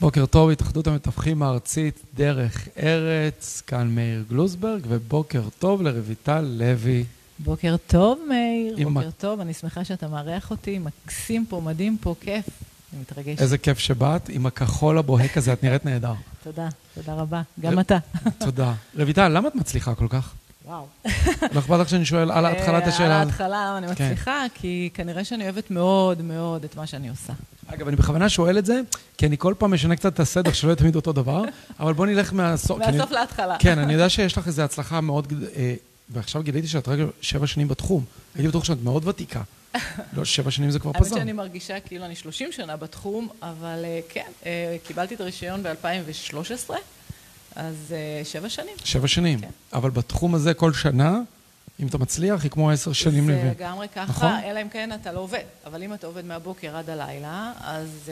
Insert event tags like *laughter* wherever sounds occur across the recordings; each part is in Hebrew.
בוקר טוב, התאחדות המתווכים הארצית דרך ארץ, כאן מאיר גלוסברג, ובוקר טוב לרויטל לוי. בוקר טוב, מאיר, עם בוקר מק- טוב, אני שמחה שאתה מארח אותי, מקסים פה, מדהים פה, כיף. אני מתרגשת. איזה כיף שבאת, עם הכחול הבוהק הזה, את נראית *laughs* נהדר. תודה, תודה אה, רבה. גם אתה. תודה. רויטל, למה את מצליחה כל כך? וואו. לא אכפת לך שאני שואל על התחלת אה, על השאלה? הזאת? ההתחלה אני כן. מצליחה, כי כנראה שאני אוהבת מאוד מאוד את מה שאני עושה. אגב, אני בכוונה שואל את זה, כי אני כל פעם משנה קצת את הסדר, שלא יהיה תמיד אותו דבר, אבל בוא נלך מהסוף. לא, כי אני- מהסוף להתחלה. כן, אני יודע שיש לך איזו הצלחה מאוד, גד- אה, ועכשיו גיליתי שאת רק שבע שנים בתחום. הייתי בטוח שאת מאוד ותיקה. לא, שבע שנים זה כבר האמת פזר. שאני מרגישה כאילו אני 30 שנה בתחום, אבל אה, כן, אה, קיבלתי את הרישיון ב-2013, אז אה, שבע שנים. שבע שנים. כן. אבל בתחום הזה כל שנה, אם אתה מצליח, היא כמו עשר שנים זה לבין. לגמרי ככה, נכון? אלא אם כן אתה לא עובד. אבל אם אתה עובד מהבוקר עד הלילה, אז uh,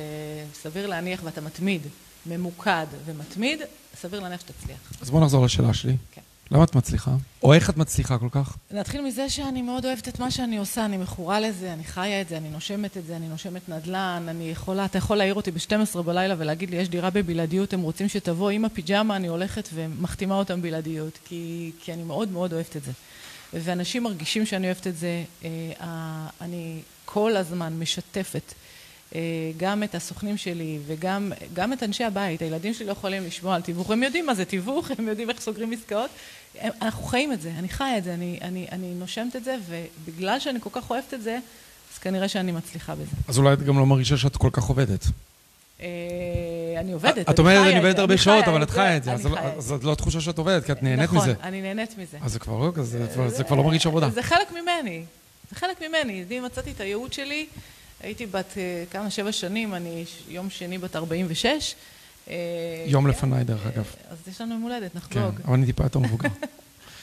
סביר להניח ואתה מתמיד, ממוקד ומתמיד, סביר להניח שתצליח. אז בוא נחזור לשאלה שלי. כן. למה את מצליחה? או איך את מצליחה כל כך? נתחיל מזה שאני מאוד אוהבת את מה שאני עושה, אני מכורה לזה, אני חיה את זה, אני נושמת את זה, אני נושמת נדל"ן, אני יכולה, אתה יכול להעיר אותי ב-12 בלילה ולהגיד לי, יש דירה בבלעדיות, הם רוצים שתבוא עם הפיג'מה, אני הולכת ומחתימה אותם בלעדיות, כי, כי אני מאוד מאוד אוהבת את זה. ואנשים מרגישים שאני אוהבת את זה, אה, ה- אני כל הזמן משתפת. אה, גם את הסוכנים שלי וגם גם את אנשי הבית, הילדים שלי לא יכולים לשמוע על תיווך, הם יודעים מה זה תיווך, *laughs* הם יודעים איך סוגרים עסקאות, הם, אנחנו חיים את זה, אני חיה את זה, אני, אני, אני נושמת את זה, ובגלל שאני כל כך אוהבת את זה, אז כנראה שאני מצליחה בזה. אז אולי את גם לא מרגישה שאת כל כך עובדת. אה, אני עובדת, את אומרת, חיה אני את עובדת זה, הרבה אני חיה שעות, אבל את חיה את זה. אני אז לא- חיה את אז את לא תחושה שאת עובדת, כי את נהנית נכון, מזה. נכון, אני נהנית מזה. אז זה כבר לא כזה, זה כבר- זה כבר לא מרגיש עבודה. זה חלק ממני, זה חלק ממני. אני מצאתי את הייעוד שלי, הייתי בת אה, כמה, שבע שנים, אני ש- יום שני בת 46. אה, יום כן, לפניי, דרך אגב. אז יש לנו יום הולדת, כן, נחגוג. אבל אני טיפה יותר *laughs* מבוגר.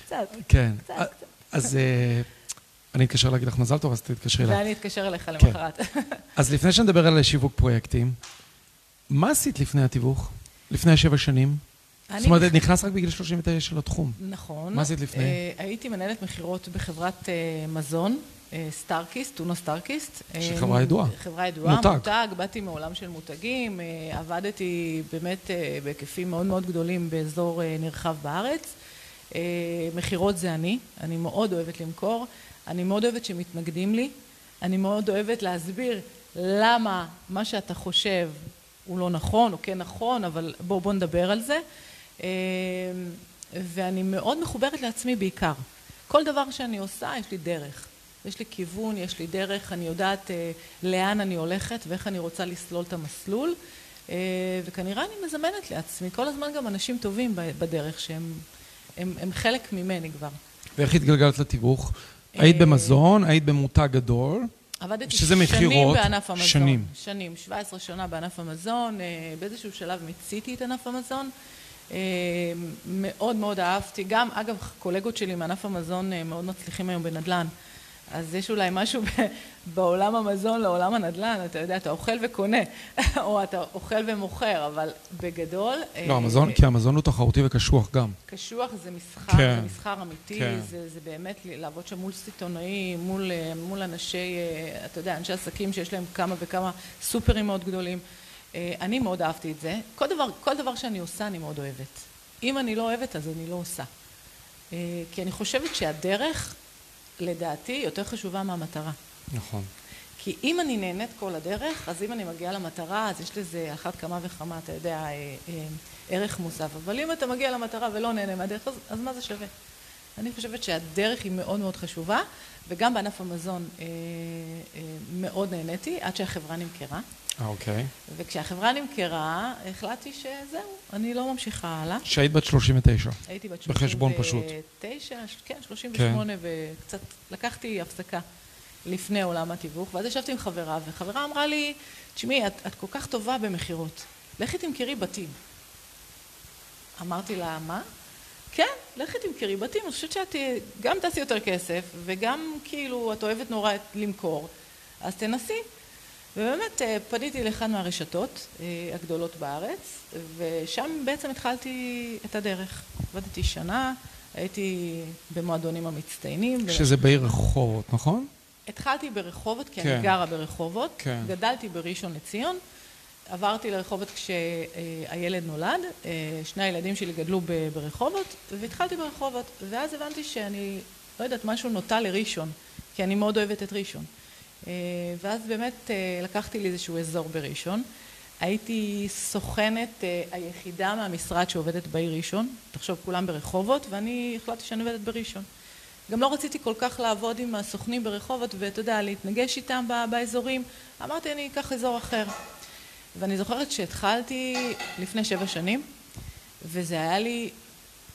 קצת. כן. קצת, אה, אז אה, אני אתקשר להגיד לך מזל טוב, אז תתקשרי אליי. ואני אתקשר אליך כן. למחרת. *laughs* אז לפני שנדבר על שיווק פרויקטים, מה עשית לפני התיווך? לפני שבע שנים? אני- זאת אומרת, את נכנסת רק בגיל 39 של התחום. נכון. מה עשית לפני? אה, הייתי מנהלת מכירות בחברת אה, מזון, אה, סטארקיסט, טונה סטארקיסט. שהיא אה, חברה ידועה. חברה ידועה, מותג. מותג. באתי מעולם של מותגים, אה, עבדתי באמת אה, בהיקפים מאוד מאוד גדולים באזור אה, נרחב בארץ. אה, מכירות זה אני, אני מאוד אוהבת למכור, אני מאוד אוהבת שמתנגדים לי, אני מאוד אוהבת להסביר למה מה שאתה חושב הוא לא נכון, או כן נכון, אבל בואו בוא נדבר על זה. אה, ואני מאוד מחוברת לעצמי בעיקר. כל דבר שאני עושה, יש לי דרך. יש לי כיוון, יש לי דרך, אני יודעת אה, לאן אני הולכת ואיך אני רוצה לסלול את המסלול, אה, וכנראה אני מזמנת לעצמי כל הזמן גם אנשים טובים ב- בדרך שהם הם, הם חלק ממני כבר. ואיך התגלגלת לתיווך? אה, היית במזון, היית במותג גדול. עבדתי שזה שנים מכירות, בענף המזון. שנים. שנים, 17 שנה בענף המזון, אה, באיזשהו שלב מיציתי את ענף המזון. אה, מאוד מאוד אהבתי, גם אגב קולגות שלי מענף המזון אה, מאוד מצליחים היום בנדל"ן. אז יש אולי משהו *laughs* ב- בעולם המזון לעולם הנדל"ן, אתה יודע, אתה אוכל וקונה, *laughs* או אתה אוכל ומוכר, אבל בגדול... אה, לא, המזון, כי המזון הוא תחרותי וקשוח גם. קשוח זה מסחר, כן. כן. זה מסחר אמיתי, כן. כן. זה, זה באמת ל- לעבוד שם מול סיטונאים, מול, אה, מול אנשי, אה, אתה יודע, אנשי עסקים שיש להם כמה וכמה סופרים מאוד גדולים. אה, אני מאוד אהבתי את זה. כל דבר, כל דבר שאני עושה אני מאוד אוהבת. אם אני לא אוהבת אז אני לא עושה. אה, כי אני חושבת שהדרך, לדעתי, יותר חשובה מהמטרה. נכון. כי אם אני נהנית כל הדרך, אז אם אני מגיעה למטרה, אז יש לזה אחת כמה וכמה, אתה יודע, אה, אה, ערך מוסף. אבל אם אתה מגיע למטרה ולא נהנה מהדרך, אז, אז מה זה שווה? אני חושבת שהדרך היא מאוד מאוד חשובה, וגם בענף המזון אה, אה, מאוד נהניתי, עד שהחברה נמכרה. אה, אוקיי. וכשהחברה נמכרה, החלטתי שזהו, אני לא ממשיכה הלאה. שהיית בת 39. הייתי בת בחשבון פשוט. 39, כן, 38, וקצת לקחתי הפסקה לפני עולם התיווך, ואז ישבתי עם חברה, וחברה אמרה לי, תשמעי, את, את כל כך טובה במכירות, לכי תמכרי בתים. אמרתי לה, מה? כן, לכי תמכרי בתים, אני חושבת שאת תהיה- גם תעשי יותר כסף, וגם כאילו את אוהבת נורא את- למכור, אז תנסי. ובאמת אה, פניתי לאחד מהרשתות אה, הגדולות בארץ, ושם בעצם התחלתי את הדרך. עבדתי שנה, הייתי במועדונים המצטיינים. שזה בעיר רחובות, נכון? התחלתי ברחובות, כי כן. אני גרה ברחובות, כן. גדלתי בראשון לציון, עברתי לרחובות כשהילד נולד, אה, שני הילדים שלי גדלו ברחובות, והתחלתי ברחובות, ואז הבנתי שאני, לא יודעת, משהו נוטה לראשון, כי אני מאוד אוהבת את ראשון. אה, ואז באמת אה, לקחתי לי איזשהו אזור בראשון. הייתי סוכנת אה, היחידה מהמשרד שעובדת בעיר ראשון, תחשוב כולם ברחובות, ואני החלטתי שאני עובדת בראשון. גם לא רציתי כל כך לעבוד עם הסוכנים ברחובות ואתה יודע, להתנגש איתם באזורים, אמרתי אני אקח אזור אחר. ואני זוכרת שהתחלתי לפני שבע שנים, וזה היה לי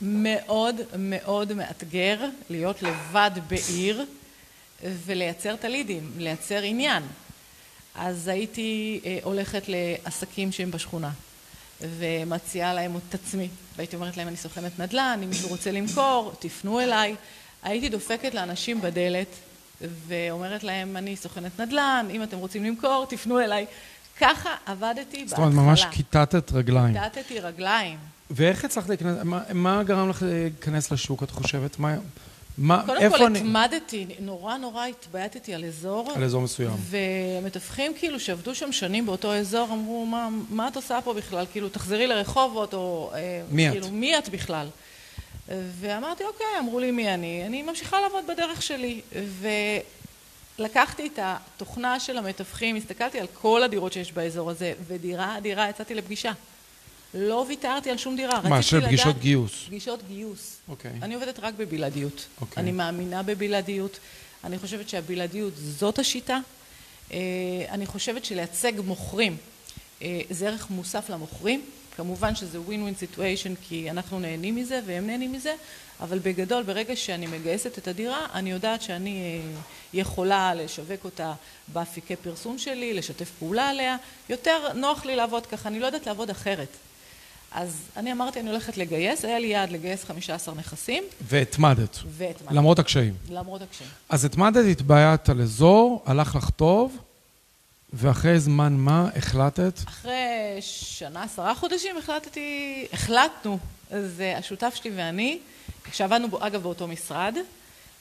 מאוד מאוד מאתגר להיות לבד בעיר ולייצר את הלידים, לייצר עניין. אז הייתי אה, הולכת לעסקים שהם בשכונה, ומציעה להם את עצמי, והייתי אומרת להם אני סוכנת נדל"ן, אם מישהו רוצה למכור, תפנו אליי. הייתי דופקת לאנשים בדלת ואומרת להם, אני סוכנת נדל"ן, אם אתם רוצים למכור, תפנו אליי. ככה עבדתי בהתחלה. זאת אומרת, ממש כיתתת רגליים. כיתתתי רגליים. ואיך הצלחת להיכנס, מה, מה גרם לך להיכנס לשוק, את חושבת? מה, מה קודם איפה כל אני... התמדתי, נורא נורא התבייתתי על אזור. על אזור מסוים. והמתווכים כאילו שעבדו שם שנים באותו אזור, אמרו, מה, מה את עושה פה בכלל? כאילו, תחזרי לרחובות, או... מי כאילו, את? מי את בכלל? ואמרתי, אוקיי, אמרו לי מי אני, אני ממשיכה לעבוד בדרך שלי. ולקחתי את התוכנה של המתווכים, הסתכלתי על כל הדירות שיש באזור הזה, ודירה, דירה, יצאתי לפגישה. לא ויתרתי על שום דירה, מה, רציתי של לדעת... פגישות גיוס? פגישות גיוס. אוקיי. אני עובדת רק בבלעדיות. אוקיי. אני מאמינה בבלעדיות, אני חושבת שהבלעדיות זאת השיטה. אה, אני חושבת שלייצג מוכרים אה, זה ערך מוסף למוכרים. כמובן שזה ווין ווין סיטואשן כי אנחנו נהנים מזה והם נהנים מזה, אבל בגדול ברגע שאני מגייסת את הדירה, אני יודעת שאני אה, יכולה לשווק אותה באפיקי פרסום שלי, לשתף פעולה עליה. יותר נוח לי לעבוד ככה, אני לא יודעת לעבוד אחרת. אז אני אמרתי, אני הולכת לגייס, היה לי יעד לגייס 15 נכסים, והתמדת. והתמדתי. למרות הקשיים. למרות הקשיים. אז התמדת, התבעיית על אזור, הלך לך טוב, ואחרי זמן מה החלטת? אחרי שנה, עשרה חודשים, החלטתי, החלטנו, זה השותף שלי ואני, שעבדנו, בו, אגב, באותו משרד,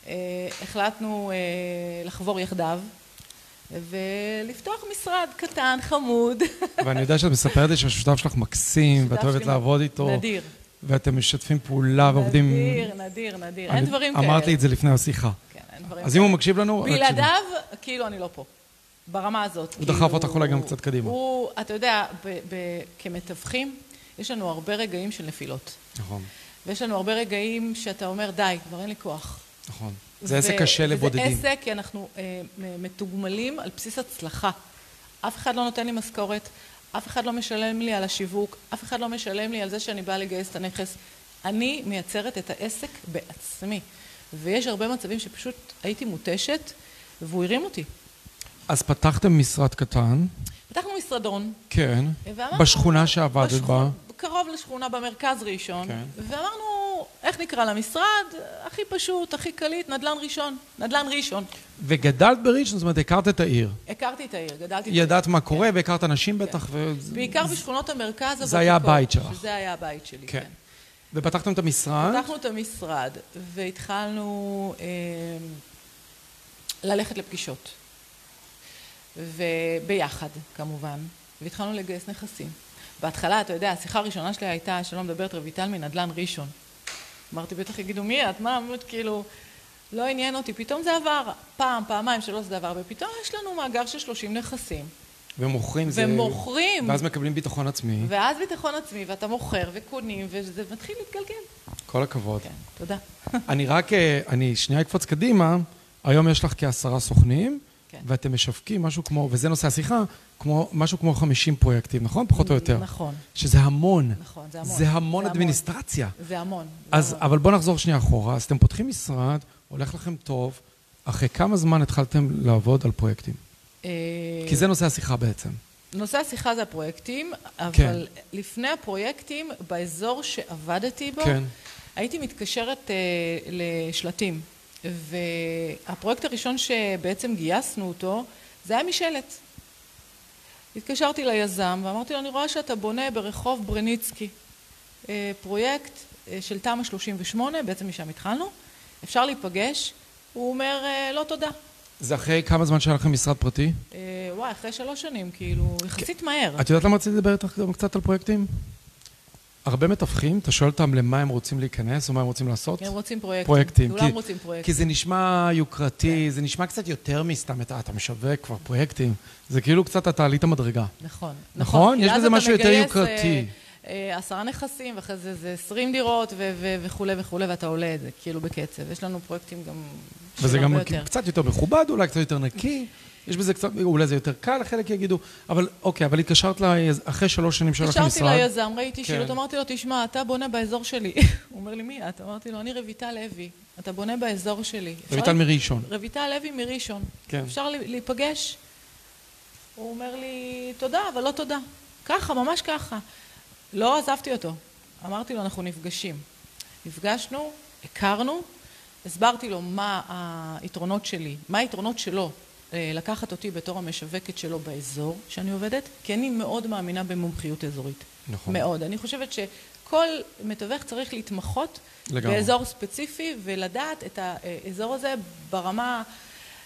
אה, החלטנו אה, לחבור יחדיו ולפתוח משרד קטן, *laughs* חמוד. ואני יודע שאת מספרת לי שהשותף שלך מקסים, ואת שותף אוהבת שלי לעבוד איתו. נדיר. ואתם משתפים פעולה ועובדים... נדיר, נדיר, נדיר. אין אני- דברים כאלה. אמרת לי את זה לפני השיחה. כן, אין דברים אז אם הוא מקשיב לנו... תקשיבו. בלעדיו, כאילו אני לא פה. ברמה הזאת. כאילו, הוא דחף אותך אולי גם קצת קדימה. הוא, אתה יודע, ב- ב- כמתווכים, יש לנו הרבה רגעים של נפילות. נכון, ויש לנו הרבה רגעים שאתה אומר, די, כבר אין לי כוח. נכון. ו- זה עסק קשה לבודדים. וזה עסק, כי אנחנו אה, מ- מתוגמלים על בסיס הצלחה. אף אחד לא נותן לי משכורת, אף אחד לא משלם לי על השיווק, אף אחד לא משלם לי על זה שאני באה לגייס את הנכס. אני מייצרת את העסק בעצמי. ויש הרבה מצבים שפשוט הייתי מותשת, והוא הרים אותי. אז פתחתם משרד קטן, פתחנו משרדון, כן, ואמרנו... בשכונה שעבדת בה. קרוב לשכונה במרכז ראשון, כן. ואמרנו, איך נקרא למשרד? הכי פשוט, הכי קליט, נדל"ן ראשון. נדל"ן ראשון. וגדלת בראשון, זאת אומרת, הכרת את העיר. הכרתי את העיר, גדלתי. ידעת מה קורה, והכרת אנשים בטח, ו... בעיקר בשכונות המרכז הוותיקות. זה היה הבית שלך. שזה היה הבית שלי, כן. אה? כן. ופתחתם את המשרד, פתחנו את המשרד והתחלנו אה, ללכת לפגישות. וביחד, כמובן, והתחלנו לגייס נכסים. בהתחלה, אתה יודע, השיחה הראשונה שלי הייתה, שלא מדברת רויטל מנדל"ן ראשון. אמרתי, בטח יגידו, מי את? מה, אמרת, כאילו, לא עניין אותי. פתאום זה עבר, פעם, פעמיים, שלוש זה עבר, ופתאום יש לנו מאגר של 30 נכסים. ומוכרים זה... ומוכרים. ואז מקבלים ביטחון עצמי. ואז ביטחון עצמי, ואתה מוכר וקונים, וזה מתחיל להתגלגל. כל הכבוד. כן, תודה. אני רק, אה, אני שנייה אקפוץ קדימה, היום יש לך כעשרה סוכנים, כן. ואתם משווקים משהו כמו, וזה נושא השיחה, כמו, משהו כמו 50 פרויקטים, נכון? פחות או יותר. נכון. שזה המון. נכון, זה המון. זה המון אדמיניסטרציה. זה המון. זה אז, המון. אבל בואו נחזור שנייה אחורה. אז אתם פותחים משרד, הולך לכם טוב, אחרי כמה זמן התחלתם לעבוד על פרויקטים? אה, כי זה נושא השיחה בעצם. נושא השיחה זה הפרויקטים, אבל כן. לפני הפרויקטים, באזור שעבדתי בו, כן. הייתי מתקשרת אה, לשלטים. והפרויקט הראשון שבעצם גייסנו אותו, זה היה משלט. התקשרתי ליזם ואמרתי לו, אני רואה שאתה בונה ברחוב ברניצקי אה, פרויקט אה, של תמ"א 38, בעצם משם התחלנו, אפשר להיפגש? הוא אומר, אה, לא תודה. זה אחרי כמה זמן שהיה לכם משרד פרטי? אה, וואי, אחרי שלוש שנים, כאילו, יחסית מהר. כן. את יודעת למה רציתי לדבר איתך גם קצת על פרויקטים? הרבה מתווכים, אתה שואל אותם למה הם רוצים להיכנס ומה הם רוצים לעשות? הם רוצים פרויקטים. פרויקטים. כולם כי- רוצים כי פרויקטים. כן. זה נשמע יוקרתי, זה נשמע קצת יותר מסתם, אתה אתה משווק כבר פרויקטים. זה כאילו קצת אתה עלית מדרגה. נכון. נכון? כי יש אז בזה אתה משהו יותר מגייס, יוקרתי. אה, אה, עשרה נכסים, ואחרי זה זה עשרים דירות ו- ו- וכולי וכולי, ואתה עולה את זה, כאילו, בקצב. יש לנו פרויקטים גם... של וזה גם הרבה יותר. קצת יותר מכובד, אולי קצת יותר נקי. יש בזה קצת, אולי זה יותר קל, חלק יגידו. אבל אוקיי, אבל התקשרת ליז- אחרי שלוש שנים שלך התקשרתי למשרד. ליזם, ראיתי כן. שילוט, אמרתי לו, תשמע, אתה בונה באזור שלי. *laughs* הוא אומר לי, מי את? אמרתי לו, אני רויטל לוי, אתה בונה באזור שלי. אפשר רויטל לי- מראשון. רויטל לוי מראשון. כן. אפשר לי- להיפגש? הוא אומר לי, תודה, אבל לא תודה. ככה, ממש ככה. לא עזבתי אותו. אמרתי לו, אנחנו נפגשים. נפגשנו, הכרנו, הסברתי לו מה היתרונות שלי, מה היתרונות שלו אה, לקחת אותי בתור המשווקת שלו באזור שאני עובדת, כי אני מאוד מאמינה במומחיות אזורית. נכון. מאוד. אני חושבת שכל מתווך צריך להתמחות לגמרי. באזור ספציפי ולדעת את האזור הזה ברמה...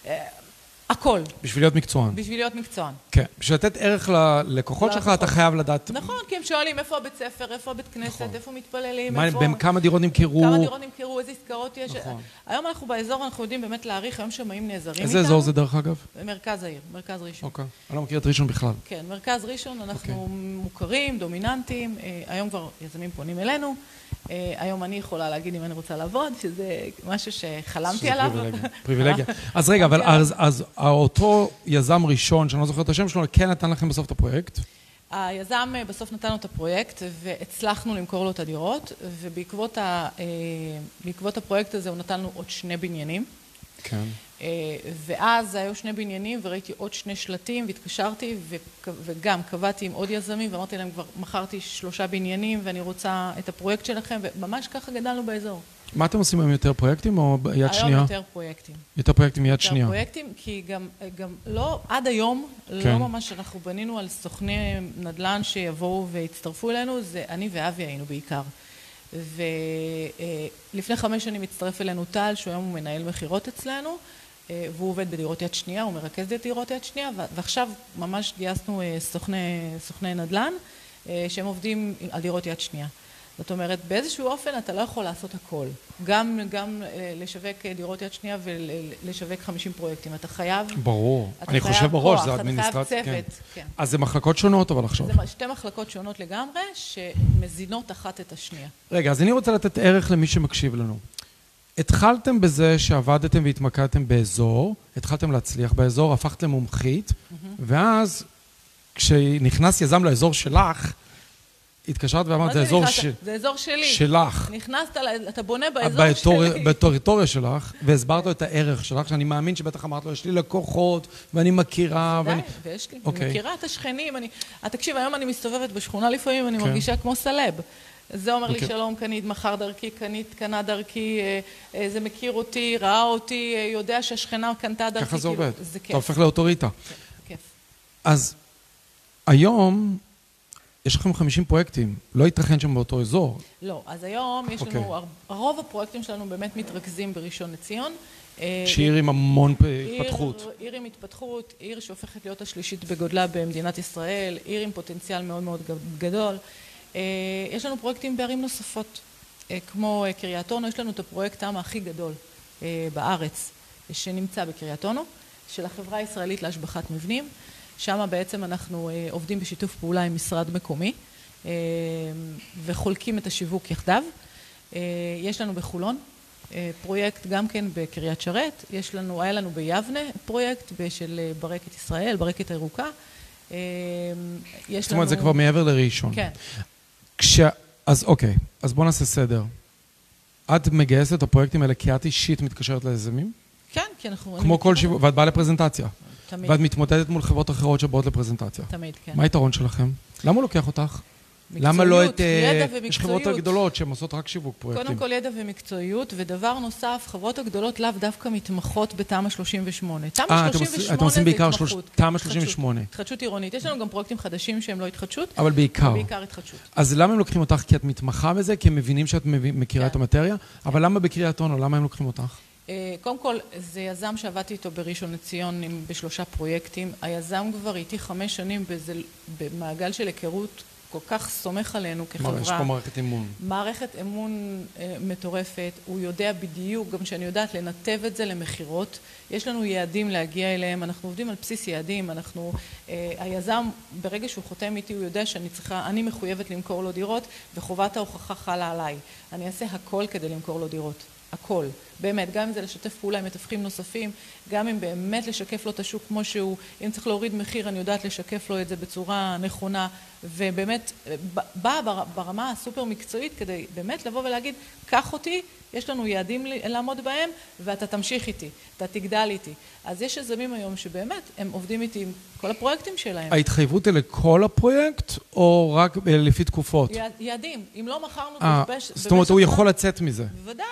אה, הכל, בשביל להיות מקצוען. בשביל להיות מקצוען. כן. בשביל לתת ערך ללקוחות שלך, אתה חייב לדעת לא, נכון, כי הם שואלים איפה הבית ספר, איפה הבית כנסת, נכון. איפה מתפללים, מה- איפה... בין כמה דירות נמכרו. נכון. כמה דירות נמכרו, איזה עסקאות יש. נכון. היום אנחנו באזור, אנחנו יודעים באמת להעריך, היום שמאים נעזרים איתנו. איזה אזור זה דרך אגב? מרכז העיר, מרכז ראשון. אוקיי. אני לא מכיר את ראשון בכלל. כן, מרכז ראשון, אנחנו אוקיי. מוכרים, דומיננטיים, אה, היום כבר יזמים פונים אלינו, אה, היום אני יכולה להגיד אם אני רוצה לעבוד, שזה משהו שחלמתי שזה עליו. פריבילגיה, *laughs* פריבילגיה. אז חלמתי רגע, אבל עליו. אז- אז אותו יזם ראשון, שאני לא זוכר את השם שלו, כן נתן לכם בסוף את הפרויקט. היזם אה, בסוף נתן לו את הפרויקט והצלחנו למכור לו את הדירות, ובעקבות ה, אה, בעקבות הפרויקט הזה הוא נתן לנו עוד שני בניינים. כן. אה, ואז היו שני בניינים וראיתי עוד שני שלטים והתקשרתי וכ- וגם קבעתי עם עוד יזמים ואמרתי להם כבר מכרתי שלושה בניינים ואני רוצה את הפרויקט שלכם וממש ככה גדלנו באזור. מה אתם עושים היום, יותר פרויקטים או ב- יד היום שנייה? יותר פרויקטים. יותר פרויקטים יד יותר שנייה. פרויקטים כי גם, גם לא, עד היום כן. לא ממש אנחנו בנינו על סוכני נדל"ן שיבואו והצטרפו אלינו, זה אני ואבי היינו בעיקר. ולפני חמש שנים הצטרף אלינו טל, שהוא היום הוא מנהל מכירות אצלנו, אה, והוא עובד בדירות יד שנייה, הוא מרכז את דירות יד שנייה, ו- ועכשיו ממש גייסנו אה, סוכני, סוכני נדל"ן, אה, שהם עובדים על דירות יד שנייה. זאת אומרת, באיזשהו אופן אתה לא יכול לעשות הכל. גם, גם אה, לשווק אה, דירות יד שנייה ולשווק 50 פרויקטים. אתה חייב... ברור. אתה אני חייב חושב בראש, כוח, זה אתה חייב אדמיניסטרציה. כן. צוות, כן. אז זה מחלקות שונות, אבל עכשיו. זה מה- שתי מחלקות שונות לגמרי, שמזינות אחת את השנייה. רגע, אז אני רוצה לתת ערך למי שמקשיב לנו. התחלתם בזה שעבדתם והתמקדתם באזור, התחלתם להצליח באזור, הפכת למומחית, ואז כשנכנס יזם לאזור שלך, התקשרת ואמרת, מה זה אזור אה, נכנסת? ש... זה אזור שלי. שלך. נכנסת, ל- אתה בונה את באזור בטור- שלי. בטריטוריה שלך, והסברת לו את הערך שלך, שאני מאמין שבטח אמרת לו, יש לי לקוחות, ואני מכירה, די, ואני... ויש לי, אוקיי. אני מכירה את השכנים, אני... אה, תקשיב, היום אני מסתובבת בשכונה לפעמים, אני כן. מרגישה כמו סלב. זה אומר לי אוקיי. שלום, קנית, מכר דרכי, קנית, קנה דרכי, אה, אה, זה מכיר אותי, ראה אותי, אה, יודע שהשכנה קנתה דרכי. ככה זה כאילו, עובד. זה כיף. אתה הופך לאוטוריטה. כיף. אז היום יש לכם 50 פרויקטים, לא ייתכן שהם באותו אזור. לא, אז היום יש אוקיי. לנו, הר- רוב הפרויקטים שלנו באמת מתרכזים בראשון לציון. אה, שעיר עם המון פ- עיר- התפתחות. עיר עם התפתחות, עיר שהופכת להיות השלישית בגודלה במדינת ישראל, עיר עם פוטנציאל מאוד מאוד ג- גדול. אה, יש לנו פרויקטים בערים נוספות, אה, כמו אה, קריית אונו, יש לנו את הפרויקט העם הכי גדול אה, בארץ, אה, שנמצא בקריית אונו, של החברה הישראלית להשבחת מבנים. שם בעצם אנחנו אה, עובדים בשיתוף פעולה עם משרד מקומי, אה, וחולקים את השיווק יחדיו. אה, יש לנו בחולון אה, פרויקט גם כן בקריית שרת, יש לנו, היה לנו ביבנה פרויקט ב- של אה, ברקת ישראל, ברקת הירוקה. אה, יש לנו... זאת אומרת, זה כבר מעבר לראשון. כן. כש... אז אוקיי, אז בואו נעשה סדר. את מגייסת את הפרויקטים האלה כי את אישית מתקשרת ליזמים? כן, כי אנחנו... אני כמו כל מכירה- שיווק, ואת באה לפרזנטציה. תמיד, ואת מתמודדת מול חברות אחרות שבאות לפרזנטציה. תמיד, כן. מה היתרון שלכם? למה הוא לוקח אותך? מקצועיות, למה לא את... אה, ידע יש חברות ומקצועיות. הגדולות שהן עושות רק שיווק פרויקטים. קודם כל ידע ומקצועיות, ודבר נוסף, חברות הגדולות לאו דווקא מתמחות בתמ"א 38. תמ"א אה, אתם 38 עושים- אתם עושים זה בעיקר התמחות. שלוש- תמ"א התחדשות. 38. התחדשות עירונית. יש לנו גם פרויקטים חדשים שהם לא התחדשות, אבל בעיקר. בעיקר התחדשות. אז למה הם לוקחים אותך? כי את מתמחה בזה? כי הם מבינים שאת מב- מכירה כן. את המטריה? אבל למה בקריית אונו? למה הם לוקחים אותך? Uh, קודם כל, זה יזם שעבדתי איתו בראשון לציון עם- בשלושה פרויקטים. היזם כבר איתי חמש שנים באיזה- במעגל של היכרות כל כך סומך עלינו כלומר, כחברה. יש פה מערכת אמון. מערכת אמון אה, מטורפת, הוא יודע בדיוק, גם שאני יודעת לנתב את זה למכירות. יש לנו יעדים להגיע אליהם, אנחנו עובדים על בסיס יעדים, אנחנו, אה, היזם, ברגע שהוא חותם איתי, הוא יודע שאני צריכה, אני מחויבת למכור לו דירות, וחובת ההוכחה חלה עליי. אני אעשה הכל כדי למכור לו דירות. הכל, באמת, גם אם זה לשתף פעולה עם מתווכים נוספים, גם אם באמת לשקף לו את השוק כמו שהוא, אם צריך להוריד מחיר, אני יודעת לשקף לו את זה בצורה נכונה, ובאמת, אה, ב- באה בר- ברמה הסופר מקצועית כדי באמת לבוא ולהגיד, קח אותי, יש לנו יעדים ל- לעמוד בהם, ואתה תמשיך איתי, אתה תגדל איתי. אז יש יזמים היום שבאמת, הם עובדים איתי עם כל הפרויקטים שלהם. ההתחייבות היא לכל הפרויקט, או רק אה, לפי תקופות? יע- יעדים, אם לא מכרנו, אה, בבש- זאת אומרת, הוא במשך יכול זמן- לצאת מזה. בוודאי,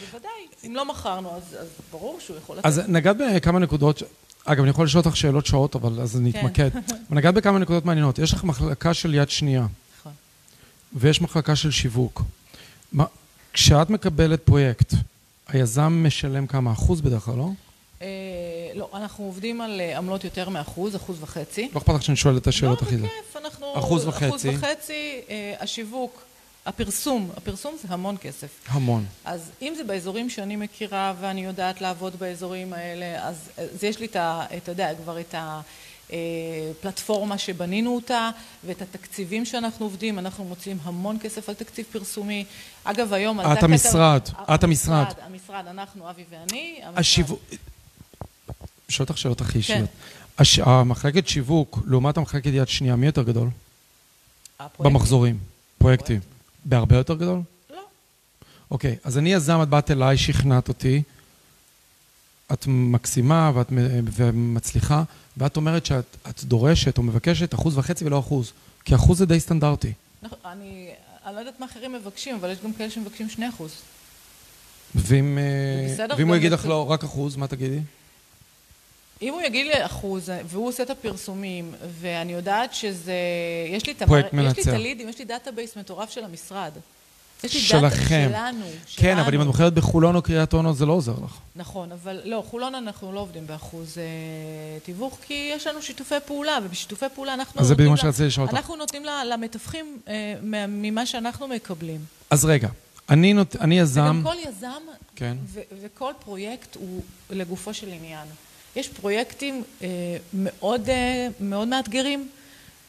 בוודאי. אם לא מכרנו, אז אז ברור שהוא יכול לצאת. אז נגעת בכמה נקודות, ש- אגב, אני יכול לשאול אותך שאלות שעות, אבל אז כן. *laughs* נתמקד. נגעת בכמה נקודות מעניינות. יש לך מחלקה של יד שנייה, נכון. ויש מחלקה של שיווק. מה- כשאת מקבלת פרויקט, היזם משלם כמה אחוז בדרך כלל, לא? אה, לא, אנחנו עובדים על אה, עמלות יותר מאחוז, אחוז וחצי. לא אכפת לך שאני שואל את השאלות הכי לא, זה. בכיף, אנחנו... אחוז וחצי. אחוז וחצי, אה, השיווק, הפרסום, הפרסום זה המון כסף. המון. אז אם זה באזורים שאני מכירה ואני יודעת לעבוד באזורים האלה, אז, אה, אז יש לי את ה... אתה יודע, כבר את ה... אה, פלטפורמה שבנינו אותה ואת התקציבים שאנחנו עובדים, אנחנו מוצאים המון כסף על תקציב פרסומי. אגב, היום... על את זה הקטע- המשרד, את המשרד. המשרד, המשרד, אנחנו, אבי ואני. המשרד. השיווק... שואל אותך שאלות הכי כן. אישיות. הש- המחלקת שיווק, לעומת המחלקת יד שנייה, מי יותר גדול? הפרויקט- במחזורים, פרויקטים. בהרבה יותר גדול? לא, אוקיי, אז אני יזם, את באת אליי, שכנעת אותי. את מקסימה ואת מ- ומצליחה, ואת אומרת שאת את דורשת או מבקשת אחוז וחצי ולא אחוז, כי אחוז זה די סטנדרטי. נכון, אני, אני לא יודעת מה אחרים מבקשים, אבל יש גם כאלה שמבקשים 2%. אחוז. ואם, אה, זה בסדר, ואם הוא גם יגיד זה לך בסדר. לא, רק אחוז, מה תגידי? אם הוא יגיד לי אחוז, והוא עושה את הפרסומים, ואני יודעת שזה... יש לי את, המערכ- פרויקט יש לי את מנצח. הלידים, יש לי דאטאבייס מטורף של המשרד. יש לי שלכם. דאטה שלנו, שלנו. כן, אבל אם את מוכרת בחולון או קריית אונו, זה לא עוזר לך. נכון, אבל לא, חולון אנחנו לא עובדים באחוז אה, תיווך, כי יש לנו שיתופי פעולה, ובשיתופי פעולה אנחנו אז זה נותנים בדיוק מה לה- שרציתי לשאול אותך. אנחנו נותנים לה- למתווכים אה, מה- ממה שאנחנו מקבלים. אז רגע, אני, נות... אני יזם... וגם כל יזם כן. ו- וכל פרויקט הוא לגופו של עניין. יש פרויקטים אה, מאוד, אה, מאוד מאתגרים,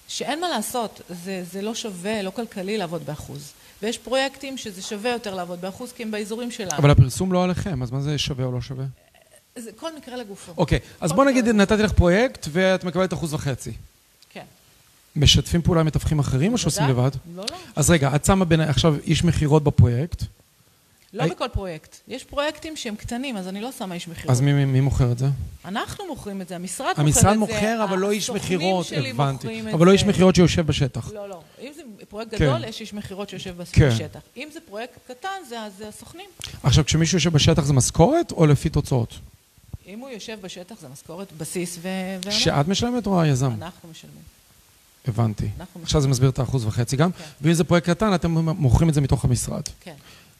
שאין מה לעשות, זה, זה לא שווה, לא כלכלי לעבוד באחוז. ויש פרויקטים שזה שווה יותר לעבוד באחוז, כי הם באזורים שלנו. אבל הפרסום לא עליכם, אז מה זה שווה או לא שווה? זה כל מקרה לגופו. אוקיי, אז כל בוא נגיד, מקרה. נתתי לך פרויקט ואת מקבלת אחוז וחצי. כן. משתפים פעולה עם מתווכים אחרים או שעושים בוודאי. לבד? לא, לא. אז רגע, את שמה בין, עכשיו איש מכירות בפרויקט, לא הי- בכל פרויקט. יש פרויקטים שהם קטנים, אז אני לא שמה איש מכירות. אז מי, מי, מי מוכר את זה? אנחנו מוכרים את זה, המשרד מוכר את זה. המשרד מוכר, אבל לא איש מכירות, הסוכנים שלי מוכרים הבנתי. את אבל לא זה. איש מכירות שיושב בשטח. לא, לא. אם זה פרויקט כן. גדול, יש איש מכירות שיושב בס- כן. בשטח. אם זה פרויקט קטן, זה אז זה הסוכנים. עכשיו, כשמישהו יושב בשטח זה משכורת או לפי תוצאות? אם הוא יושב בשטח, זה משכורת בסיס ו... והמון. שאת משלמת או היזם? אנחנו משלמים. הבנתי. אנחנו- עכשיו זה מסביר את האחוז וחצי גם. כן. ואם זה פרויקט קטן, אתם מוכרים את זה מתוך המשרד. כן.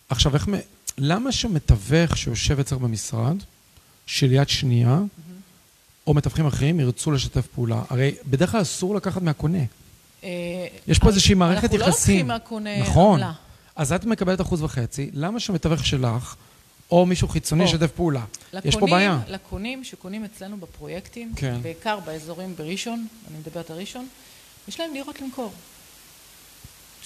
עכשיו, איך, מ- למה שמתווך שיושב אצלך במשרד, של יד שנייה, Mm-hmm. או מתווכים אחרים ירצו לשתף פעולה? הרי בדרך כלל אסור לקחת מהקונה. אה, יש פה איזושהי מערכת יחסים. אנחנו לא לוקחים מהקונה נכון. עמלה. אז את מקבלת אחוז וחצי, למה שמתווך שלך, או מישהו חיצוני או. ישתף פעולה? יש פה לקונים- בעיה. לקונים שקונים אצלנו בפרויקטים, כן. בעיקר באזורים בראשון, אני מדברת על ראשון, יש להם דירות למכור.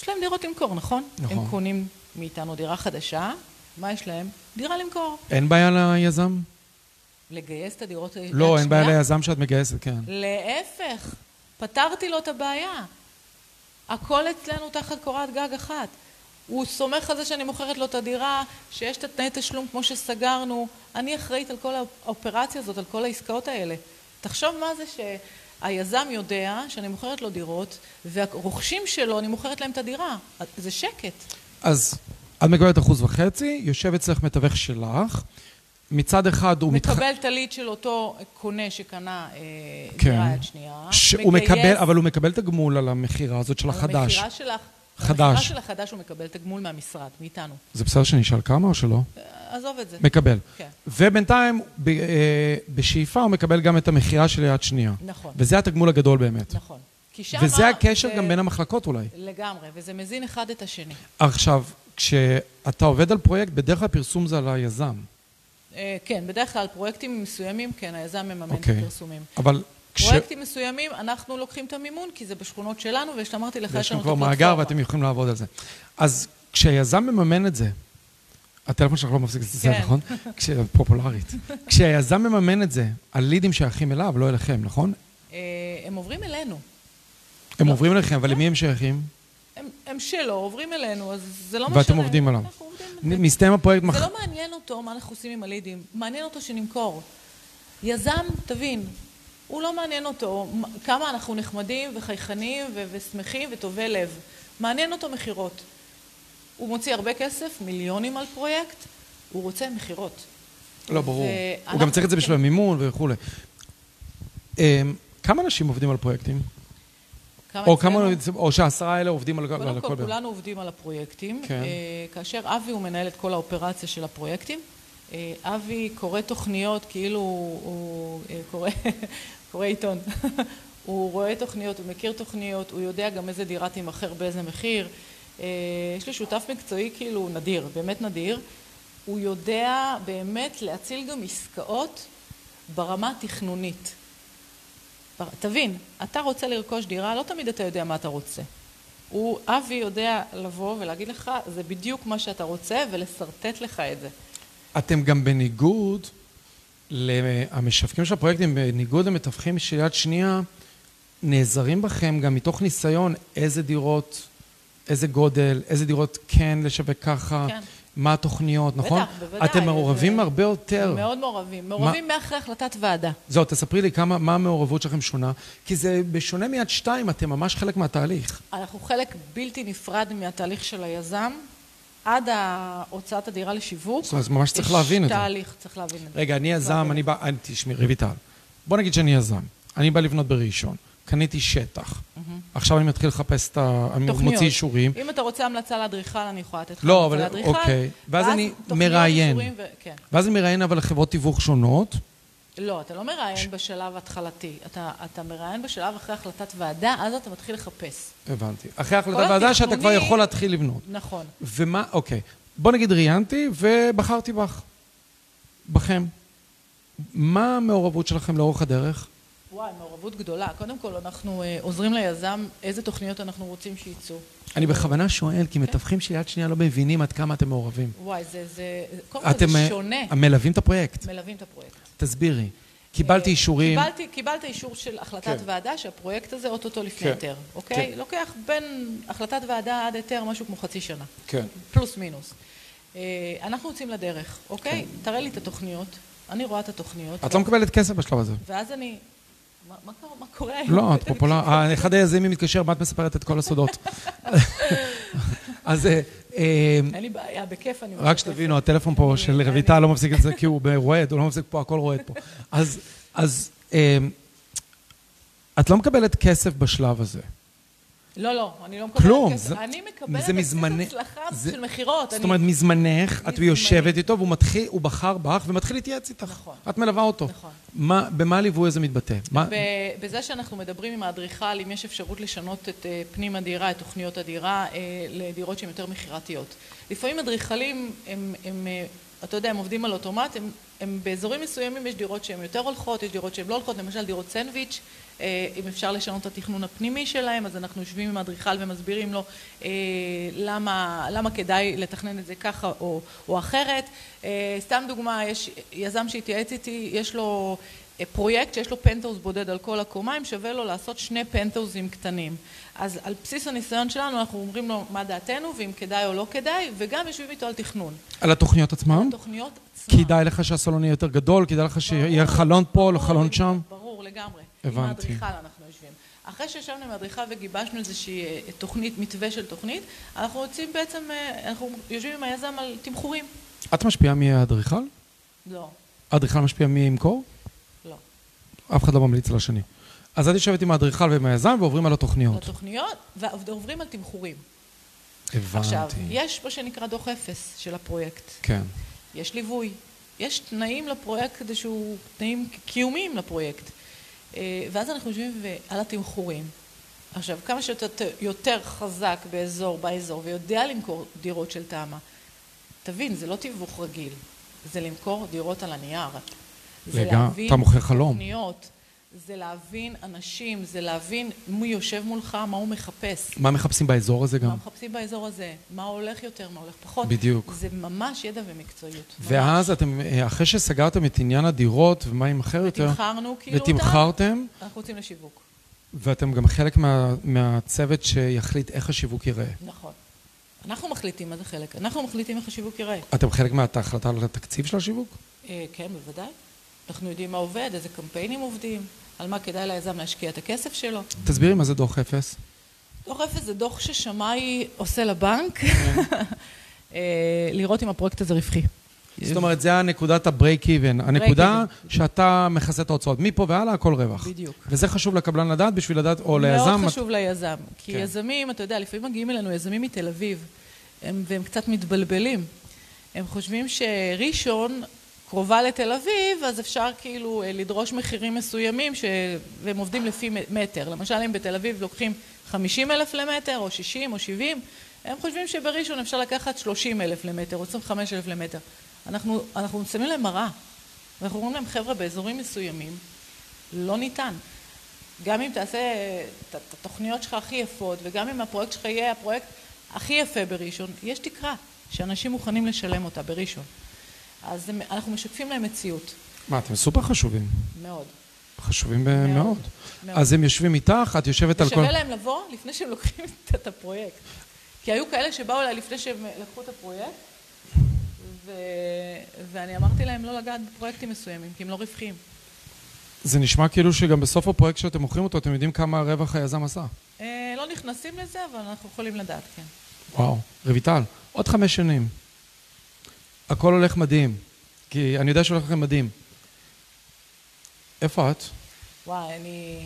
יש להם דירות למכור, נכון? נכון. הם קונים מאיתנו דירה חדשה, מה יש להם? דירה למכור. אין בעיה ליזם? לגייס את הדירות... היד לא, אין בעיה שנייה? ליזם שאת מגייסת, כן. להפך, פתרתי לו את הבעיה. הכל אצלנו תחת קורת גג אחת. הוא סומך על זה שאני מוכרת לו את הדירה, שיש את התנאי תשלום כמו שסגרנו. אני אחראית על כל האופרציה הזאת, על כל העסקאות האלה. תחשוב מה זה שהיזם יודע שאני מוכרת לו דירות, והרוכשים שלו, אני מוכרת להם את הדירה. זה שקט. אז את מקבלת אחוז וחצי, יושב אצלך מתווך שלך, מצד אחד הוא מתח- מקבל את הליד של אותו קונה שקנה אה, כן. דירה יד שנייה. שהוא מגייס מקבל, אבל הוא מקבל תגמול על המכירה הזאת של על החדש. המכירה שלך, במכירה חדש. של החדש הוא מקבל תגמול מהמשרד, מאיתנו. זה בסדר שנשאל כמה או שלא? אה, עזוב את זה. מקבל. כן. ובינתיים, ב- אה, בשאיפה הוא מקבל גם את המכירה של יד שנייה. נכון. וזה התגמול הגדול באמת. נכון. כי שמה... וזה הקשר זה- גם בין המחלקות אולי. לגמרי, וזה מזין אחד את השני. עכשיו, כשאתה עובד על פרויקט, בדרך כלל פרסום זה על היזם. אה, כן, בדרך כלל פרויקטים מסוימים, כן, היזם מממן את אוקיי. הפרסומים. אבל כש... פרויקטים מסוימים, אנחנו לוקחים את המימון, כי זה בשכונות שלנו, ושאמרתי לך, יש יש לכם לנו את כבר מאגר הפלטפורמה. ואתם יכולים לעבוד על זה. אז כשהיזם מממן את זה, הטלפון שלך לא מפסיק לצלצל, כן. *laughs* נכון? כש- פופולרית. כשהיזם מממן את זה, הלידים שייכים אליו, לא אליכם, נכון? אה, הם עוברים אלינו. לא. הם עוברים אליכם, אבל למי הם שייכים? הם, הם שלו, עוברים אלינו, אז זה לא ואתם משנה. עובדים עליו. אנחנו עובדים נ- מסתיים הפרויקט זה מח... לא מעניין אותו מה אנחנו עושים עם הלידים, מעניין אותו שנמכור. יזם, תבין, הוא לא מעניין אותו מ- כמה אנחנו נחמדים וחייכנים ו- ושמחים וטובי לב. מעניין אותו מכירות. הוא מוציא הרבה כסף, מיליונים על פרויקט, הוא רוצה מכירות. לא, ברור. הוא ואנחנו- גם צריך את זה בשביל המימון וכולי. אמ, כמה אנשים עובדים על פרויקטים? או אצלנו- כמה... או שהעשרה האלה עובדים על על קודם כל, הכל. ביחד. כולנו עובדים על הפרויקטים. כן. אה, כאשר אבי הוא מנהל את כל האופרציה של הפרויקטים. אה, אבי קורא תוכניות כאילו הוא אה, קורא, *laughs* קורא עיתון. *laughs* הוא רואה תוכניות, הוא מכיר תוכניות, הוא יודע גם איזה דירה תימכר באיזה מחיר. אה, יש לי שותף מקצועי כאילו נדיר, באמת נדיר. הוא יודע באמת להציל גם עסקאות ברמה התכנונית. בר- תבין, אתה רוצה לרכוש דירה, לא תמיד אתה יודע מה אתה רוצה. הוא, אבי יודע לבוא ולהגיד לך, זה בדיוק מה שאתה רוצה, ולשרטט לך את זה. אתם גם בניגוד, ל- המשווקים של הפרויקטים, בניגוד למתווכים של יד שנייה, נעזרים בכם גם מתוך ניסיון איזה דירות, איזה גודל, איזה דירות כן לשווק ככה, כן. מה התוכניות, נכון? בוודאי, אתם מעורבים זה- הרבה יותר. מאוד מעורבים. מעורבים מאחרי החלטת ועדה. זהו, תספרי לי כמה, מה המעורבות שלכם שונה, כי זה בשונה מיד שתיים, אתם ממש חלק מהתהליך. אנחנו חלק בלתי נפרד מהתהליך של היזם, עד הוצאת הדירה לשיווק. זאת אומרת, ממש צריך להבין את זה. יש תהליך, צריך להבין את זה. רגע, אני יזם, אני בא... אני- תשמעי, רויטל. בוא נגיד שאני יזם. אני בא לבנות בראשון. קניתי שטח. עכשיו אני מתחיל לחפש את ה... אני תוכניות. מוציא אישורים. אם אתה רוצה המלצה לאדריכל, אני יכולה לתת לך לא, המלצה אבל- לאדריכל. אוקיי. ואז אני תוכניות, מראיין. אישורים ו- כן. ואז אני מראיין אבל לחברות תיווך שונות. לא, אתה לא מראיין בשלב התחלתי. אתה, אתה מראיין בשלב אחרי החלטת ועדה, אז אתה מתחיל לחפש. הבנתי. אחרי החלטת כל ועדה שאתה כבר התכנונים- יכול להתחיל לבנות. נכון. ומה... אוקיי. בוא נגיד ראיינתי ובחרתי בך. בכם. מה המעורבות שלכם לאורך הדרך? וואי, מעורבות גדולה. קודם כל, אנחנו אה, עוזרים ליזם איזה תוכניות אנחנו רוצים שייצאו. אני בכוונה שואל, כי מתווכים של יד שנייה לא מבינים עד כמה אתם מעורבים. וואי, זה, זה, קודם כל אתם אוקיי, זה אה, שונה. מלווים את הפרויקט. מלווים את הפרויקט. תסבירי. קיבלתי אה, אישורים. קיבלתי, קיבלת אישור של החלטת כן. ועדה שהפרויקט הזה אוטוטו לפני כן. היתר, אוקיי? כן. לוקח בין החלטת ועדה עד היתר משהו כמו חצי שנה. כן. פלוס מינוס. אה, אנחנו יוצאים לדרך, אוקיי? תראה לי את התוכניות, אני רואה את התוכניות. כן. את לא מקבלת כסף בשלב *laughs* הזה. ואז אני... מה, מה, קרה- מה קורה? לא, את פופולר... אחד היזמים מתקשר, מה את מספרת את כל הסודות? אז אה, אה, אין לי בעיה, בכיף אני... רק משתפת. שתבינו, הטלפון פה של רויטל לא מפסיק את זה כי הוא רועד, הוא לא מפסיק פה, הכל רועד פה. אז- אז אה, את לא מקבלת כסף בשלב הזה. לא, לא, אני לא מקבלת כלום, כסף. זה- אני מקבלת זה את מזמני- הצלחה זה- של מכירות. זאת אני- אומרת, מזמנך, את מזמני. יושבת איתו והוא מתחיל, הוא בחר בך ומתחיל להתייעץ איתך. נכון. את מלווה אותו. נכון. מה- במה הליווי הזה מתבטא? מה- ב- בזה שאנחנו מדברים עם האדריכל, אם יש אפשרות לשנות את אה, פנים הדירה, את תוכניות הדירה, אה, לדירות שהן יותר מכירתיות. לפעמים אדריכלים, הם, הם, אה, אתה יודע, הם עובדים על אוטומט, הם, הם באזורים מסוימים יש דירות שהן יותר הולכות, יש דירות שהן לא הולכות, למשל דירות סנדוויץ', אה, אם אפשר לשנות את התכנון הפנימי שלהם, אז אנחנו יושבים עם האדריכל ומסבירים לו אה, למה, למה כדאי לתכנן את זה ככה או, או אחרת. אה, סתם דוגמה, יש יזם שהתייעץ איתי, יש לו... אה, פרויקט שיש לו פנטהאוז בודד על כל הקומה, אם שווה לו לעשות שני פנטהאוזים קטנים. אז על בסיס הניסיון שלנו אנחנו אומרים לו מה דעתנו ואם כדאי או לא כדאי, וגם יושבים איתו על תכנון. על התוכניות עצמן? תוכניות עצמן. כדאי לך שהסלון יהיה יותר גדול, כדאי לך שיהיה ברור, חלון פה, לא ברור, חלון שם. ברור לגמרי. עם הבנתי. האדריכל אנחנו יושבים. אחרי שישבנו עם האדריכל וגיבשנו איזושהי אה, תוכנית, מתווה של תוכנית, אנחנו יוצאים בעצם, אה, אנחנו יושבים עם היזם על תמחורים. את משפיעה מי האדריכל? לא, האדריכל משפיע מי ימכור? לא. אף אחד לא ממליץ על השני. לא. אז את יושבת עם האדריכל ועם היזם ועוברים על התוכניות. לתוכניות, ועוברים על תמחורים. עכשיו, הבנתי. יש מה שנקרא דוח אפס של הפרויקט. כן. יש ליווי, יש תנאים לפרויקט כדי שהוא, תנאים קיומיים לפרויקט. אה, ואז אנחנו יושבים ו- על התמחורים. עכשיו, כמה שאתה ת- יותר חזק באזור, באזור, ויודע למכור דירות של תמ"א, תבין, זה לא תיווך רגיל, זה למכור דירות על הנייר. זה רגע, להבין אתה מוכר חלום. תוכניות, זה להבין אנשים, זה להבין מי יושב מולך, מה הוא מחפש. מה מחפשים באזור הזה גם? מה מחפשים באזור הזה, מה הולך יותר, מה הולך פחות. בדיוק. זה ממש ידע ומקצועיות. ממש. ואז אתם, אה, אחרי שסגרתם את עניין הדירות ומה ימכר יותר, ותמחרנו כאילו אותם. ותמחרתם, אנחנו יוצאים לשיווק. ואתם גם חלק מה, מהצוות שיחליט איך השיווק ייראה. נכון. אנחנו מחליטים מה זה חלק. אנחנו מחליטים איך השיווק ייראה. אתם חלק מההחלטה על התקציב של השיווק? אה, כן, בוודאי. אנחנו יודעים מה עובד, איזה קמפיינים עובדים, על מה כדאי ליזם להשקיע את הכסף שלו. תסבירי מה זה דוח אפס. דוח אפס זה דוח ששמאי עושה לבנק, *laughs* אה, לראות אם הפרויקט הזה רווחי. כן. זאת אומרת, זה הנקודת ה-break even, הנקודה שאתה מכסה את ההוצאות. מפה והלאה הכל רווח. בדיוק. וזה חשוב לקבלן לדעת בשביל לדעת, או ליזם... מאוד חשוב ליזם, כי כן. כן. יזמים, אתה יודע, לפעמים מגיעים אלינו יזמים מתל אביב, הם, והם קצת מתבלבלים. הם חושבים שראשון קרובה לתל אביב, אז אפשר כאילו אה, לדרוש מחירים מסוימים, ש... והם עובדים לפי מ- מטר. למשל, אם בתל אביב לוקחים 50 אלף למטר, או 60 או 70, הם חושבים שבראשון אפשר לקחת 30 אלף למטר, או 25 אלף למטר. אנחנו, אנחנו שמים להם מראה, ואנחנו אומרים להם, חבר'ה, באזורים מסוימים, לא ניתן. גם אם תעשה את את התוכניות שלך הכי יפות, וגם אם הפרויקט שלך יהיה הפרויקט הכי יפה בראשון, יש תקרה שאנשים מוכנים לשלם אותה בראשון. אז זה- אנחנו משקפים להם מציאות, מה, אתם סופר חשובים. מאוד. חשובים ב- מאוד, מאוד. מאוד. אז הם יושבים איתך, את יושבת על כל... ושווה להם לבוא לפני שהם לוקחים *laughs* את- את הפרויקט. כי היו כאלה שבאו אליי לפני שהם לקחו את הפרויקט, ו... ואני אמרתי להם לא לגעת בפרויקטים מסוימים, כי הם לא רווחיים. זה נשמע כאילו שגם בסוף הפרויקט שאתם מוכרים אותו, אתם יודעים כמה רווח היזם עשה. אה, לא נכנסים לזה, אבל אנחנו יכולים לדעת, כן. וואו, רויטל, עוד חמש שנים. הכל הולך מדהים, כי אני יודע שהולך לכם מדהים. איפה את? וואי, אני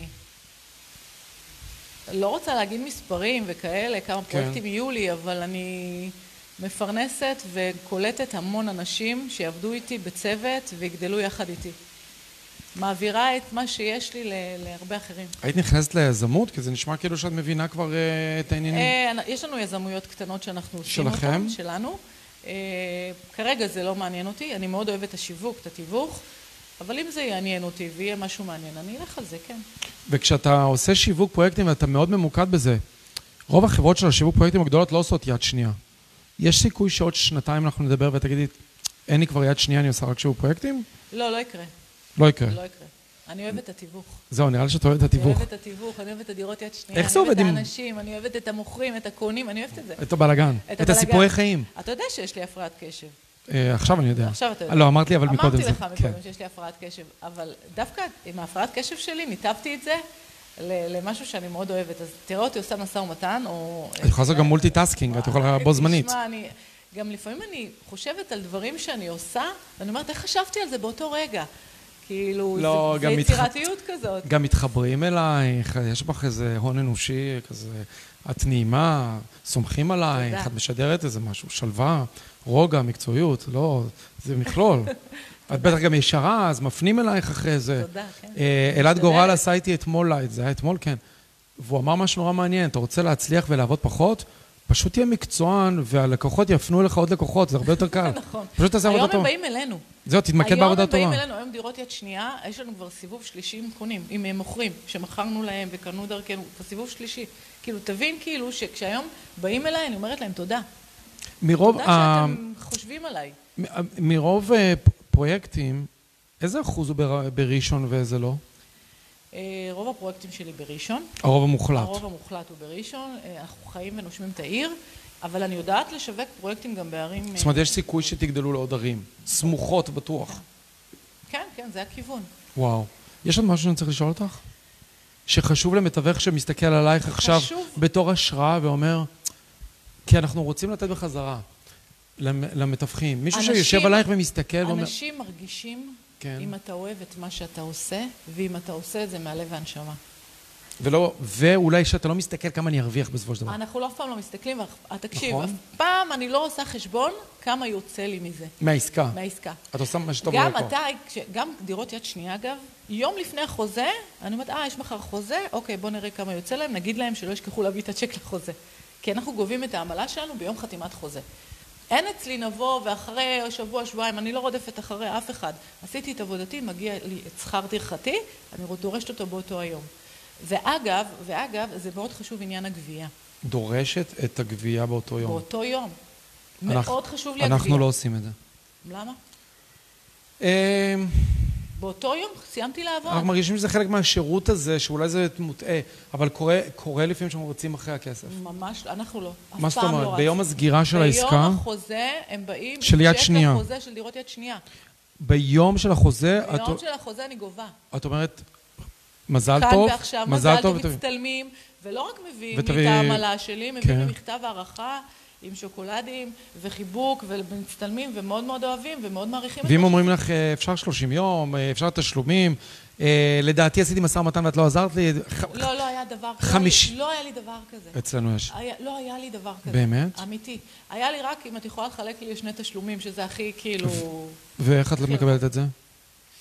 לא רוצה להגיד מספרים וכאלה, כמה פרויקטים יהיו לי, אבל אני מפרנסת וקולטת המון אנשים שיעבדו איתי בצוות ויגדלו יחד איתי. מעבירה את מה שיש לי ל- להרבה אחרים. היית נכנסת ליזמות? כי זה נשמע כאילו שאת מבינה כבר אה, את העניינים. אה, אנ- יש לנו יזמויות קטנות שאנחנו עושים שלכם? אותן, שלנו. אה, כרגע זה לא מעניין אותי, אני מאוד אוהבת את השיווק, את התיווך, אבל אם זה יעניין אותי ויהיה משהו מעניין, אני אלך על זה, כן. וכשאתה עושה שיווק פרויקטים ואתה מאוד ממוקד בזה, רוב החברות של השיווק פרויקטים הגדולות לא עושות יד שנייה. יש סיכוי שעוד שנתיים אנחנו נדבר ותגידי, אין לי כבר יד שנייה, אני עושה רק שיווק פרויקטים? לא, לא יקרה. לא יקרה. לא יקרה. אני אוהבת את התיווך. זהו, נראה לי שאת אוהבת את התיווך. אני אוהבת את התיווך, אני אוהבת את הדירות יד שנייה. איך זה עובד אני עם- אוהבת את האנשים, אני אוהבת את המוכרים, את הקונים, אני אוהבת את זה. את הבלאגן, את הבלגן. הסיפורי חיים. אתה יודע שיש לי הפרעת קשב. אה, עכשיו אני יודע. עכשיו אתה יודע. אה, לא, אמרת לי, אבל מקודם זה... אמרתי לך כן. מקודם שיש לי הפרעת קשב, אבל דווקא עם ההפרעת קשב שלי, ניתבתי את זה ל- למשהו שאני מאוד אוהבת. אז תראה אותי עושה משא ומתן, או... את יכולה לעשות גם אה. מולטיטאסקינג, את יכולה *laughs* בו זמנית. תשמע, אני... גם לפעמים אני חושבת על דברים שאני עושה, ואני אומרת, איך חשבתי על זה באותו רגע? כאילו, לא, זה, גם זה מתח- יצירתיות כזאת. גם מתחברים אלייך, יש בך איזה הון אנושי, כזה, את נעימה, סומכים עלייך, תודה. את משדרת איזה משהו, שלווה, רוגע, מקצועיות, לא, זה *laughs* מכלול. את בטח גם ישרה, אז מפנים אלייך אחרי זה. תודה, כן. אה, אלעד משתדלת. גורל עשה איתי אתמול לייט, זה היה אתמול, כן. והוא אמר משהו נורא מעניין, אתה רוצה להצליח ולעבוד פחות? פשוט תהיה מקצוען, והלקוחות יפנו לך עוד לקוחות, זה הרבה יותר קל. *laughs* נכון. פשוט תעשה עבודה היום הם טובה. באים אלינו. זהו, תתמקד היום בעבודה הם באים טובה. אלינו, היום דירות יד שנייה, יש לנו כבר סיבוב שלישי עם קונים, עם אה, מוכרים, שמכרנו להם וקנו דרכנו, כבר סיבוב שלישי. כאילו, תבין כאילו שכשהיום באים אליי, אני אומרת להם תודה. מרוב תודה ה- שאתם חושבים עליי. מ- מרוב אה, פ- פרויקטים, איזה אחוז הוא בר- בראשון ואיזה לא? אה, רוב הפרויקטים שלי בראשון, הרוב המוחלט. הרוב המוחלט הוא בראשון, אה, אנחנו חיים ונושמים את העיר, אבל אני יודעת לשווק פרויקטים גם בערים... אה, זאת אומרת, יש סיכוי שתגדלו לעוד ערים. סמוכות בטוח. כן, כן, זה הכיוון. וואו. יש עוד משהו שאני צריך לשאול אותך? שחשוב למתווך שמסתכל עלייך עכשיו חשוב. בתור השראה ואומר, כי אנחנו רוצים לתת בחזרה למ- למתווכים. מישהו אנשים- שיושב עלייך ומסתכל ואומר, אנשים מרגישים כן. אם אתה אוהב את מה שאתה עושה, ואם אתה עושה את זה מהלב והנשמה. ולא, ואולי שאתה לא מסתכל כמה אני ארוויח בסופו של דבר. אנחנו לא אף פעם לא מסתכלים, אבל- תקשיב, נכון. אף פעם אני לא עושה חשבון כמה יוצא לי מזה, מהעסקה. מהעסקה. את עושה מה שטוב גם ללקוח. אתה, כש- גם דירות יד שנייה אגב, יום לפני החוזה, אני אומרת, אה, יש מחר חוזה, אוקיי, בוא נראה כמה יוצא להם, נגיד להם שלא ישכחו להביא את הצ'ק לחוזה. כי אנחנו גובים את העמלה שלנו ביום חתימת חוזה. אין אצלי נבוא ואחרי שבוע, שבועיים, אני לא רודפת אחרי אף אחד. עשיתי את עבודתי, מגיע לי את שכר טרחתי, אני דורשת אותו באותו היום. ואגב, ואגב, זה מאוד חשוב עניין הגבייה. דורשת את הגבייה באותו יום. באותו יום. אנחנו- מאוד חשוב לי אנחנו לא הגבייה. עושים את זה. למה? אמ, באותו יום סיימתי לעבוד. אנחנו מרגישים שזה חלק מהשירות הזה, שאולי זה מוטעה, אבל קורה- קורה לפעמים שאנחנו רצים אחרי הכסף. ממש, לא, אנחנו לא. אף מה זאת פעם לא אומרת? רצנו. ביום הסגירה של העסקה, ביום החוזה הם באים... עם של יד צ'ק שנייה. החוזה של דירות יד שנייה. ביום של החוזה, את- ביום של החוזה אני גובה. את אומרת, מזל כאן טוב, ועכשיו, מזל טוב, ותביא- ומצטלמים, ולא רק מביאים לי ותביא- את העמלה שלי, מביאים לי כן. מכתב הערכה עם שוקולדים וחיבוק, ומצטלמים, ומאוד מאוד אוהבים, ומאוד מעריכים את ואם זה. אומרים לך, אה, אפשר 30 יום, אה, אפשר תשלומים, אה, לדעתי עשיתי משא ומתן ואת לא עזרת לי, ח- לא, לא היה דבר כזה. חמיש- לא היה לי דבר כזה. אצלנו יש. היה, לא היה לי דבר כזה. באמת? אמיתי. היה לי רק אם את יכולה לחלק לי לשני תשלומים, שזה הכי כאילו... ואיך את לא מקבלת את זה?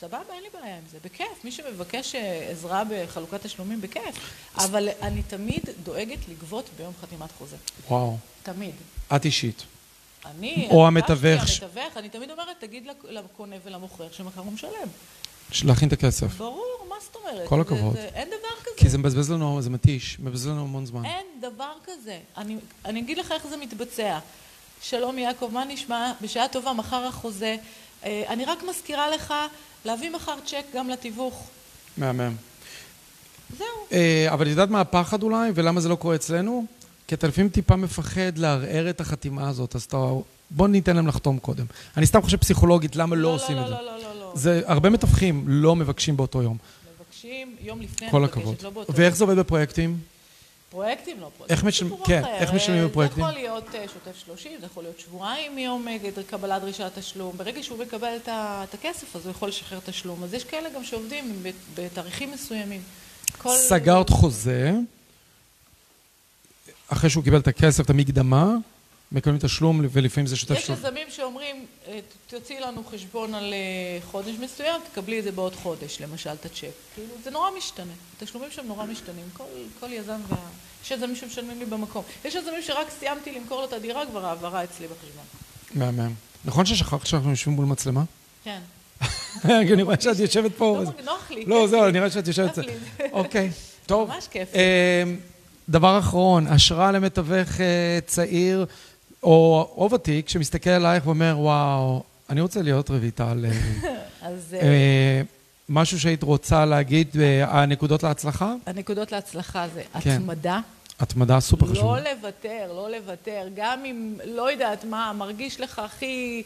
סבבה, אין לי בעיה עם זה, בכיף. מי שמבקש אה, עזרה בחלוקת תשלומים, בכיף. אבל אני תמיד דואגת לגבות ביום חתימת חוזה. וואו, תמיד. את אישית. אני... או הבטחתי, המתווך ש- המתווך, אני תמיד אומרת, תגיד לק- לקונה ולמוכר שמחר הוא משלם. של להכין את הכסף. ברור, מה זאת אומרת? כל זה- הכבוד. זה- אין דבר כזה. כי זה מבזבז לנו, זה מתיש, מבזבז לנו המון זמן. אין דבר כזה. אני, אני אגיד לך איך זה מתבצע. שלום יעקב, מה נשמע? בשעה טובה, מחר החוזה. אה, אני רק מזכירה לך להביא מחר צ'ק גם לתיווך. מהמם. זהו. אה, אבל את יודעת מה הפחד אולי, ולמה זה לא קורה אצלנו? כי אתה לפעמים טיפה מפחד לערער את החתימה הזאת, אז אתה... בוא ניתן להם לחתום קודם. אני סתם חושב פסיכולוגית, למה לא עושים את זה. לא, לא, לא, לא, לא. זה, הרבה מתווכים לא מבקשים באותו יום. מבקשים יום לפני, כל אני הכבוד. מבקשת, לא באותו ואיך זה עובד בפרויקטים? פרויקטים, לא איך פרויקטים. משל- סיפור כן, אחר. איך משלמים אה, בפרויקטים? זה יכול להיות אה, שוטף 30, זה יכול להיות שבועיים מיום אה, קבלת דרישת תשלום. ברגע שהוא מקבל את ה- את הכסף, אז הוא יכול לשחרר תשלום. אז יש כאלה גם שעובדים ב- בתאריכים מסוימים. כל- סגרת חוזה, אחרי שהוא קיבל את הכסף, את המקדמה, מקבלים תשלום, ולפעמים זה שוטף יש שלו. יזמים שאומרים, אה, ת- תוציאי לנו חשבון על אה, חודש מסוים, תקבלי את זה בעוד חודש, למשל, את הצ'ק. כאילו, זה נורא משתנה. התשלומים שם נורא משתנים. כל, כל יזם וה... יש יזמים שמשלמים לי במקום. יש יזמים שרק סיימתי למכור לו את הדירה, כבר העברה אצלי בחשבון. מהמם. נכון ששכחת שאנחנו יושבים מול מצלמה? *laughs* כן. כי נראה שאת יושבת פה. לא מרג- נוח לי. לא, כיף זהו, לי. נראה שאת יושבת... כיף לי. אוקיי, טוב. ממש כיף לי. אמ, דבר אחרון, השראה למתווך אה, צעיר או או ותיק שמסתכל עלייך ואומר, וואו, אני רוצה להיות רויטל. *laughs* אה, אז אה, אה, משהו שהיית רוצה להגיד, אה, הנקודות להצלחה? הנקודות להצלחה זה כן. התמדה. התמדה סופר לא חשובה. לוותר, לא לוותר. גם אם, לא יודעת מה, מרגיש לך הכי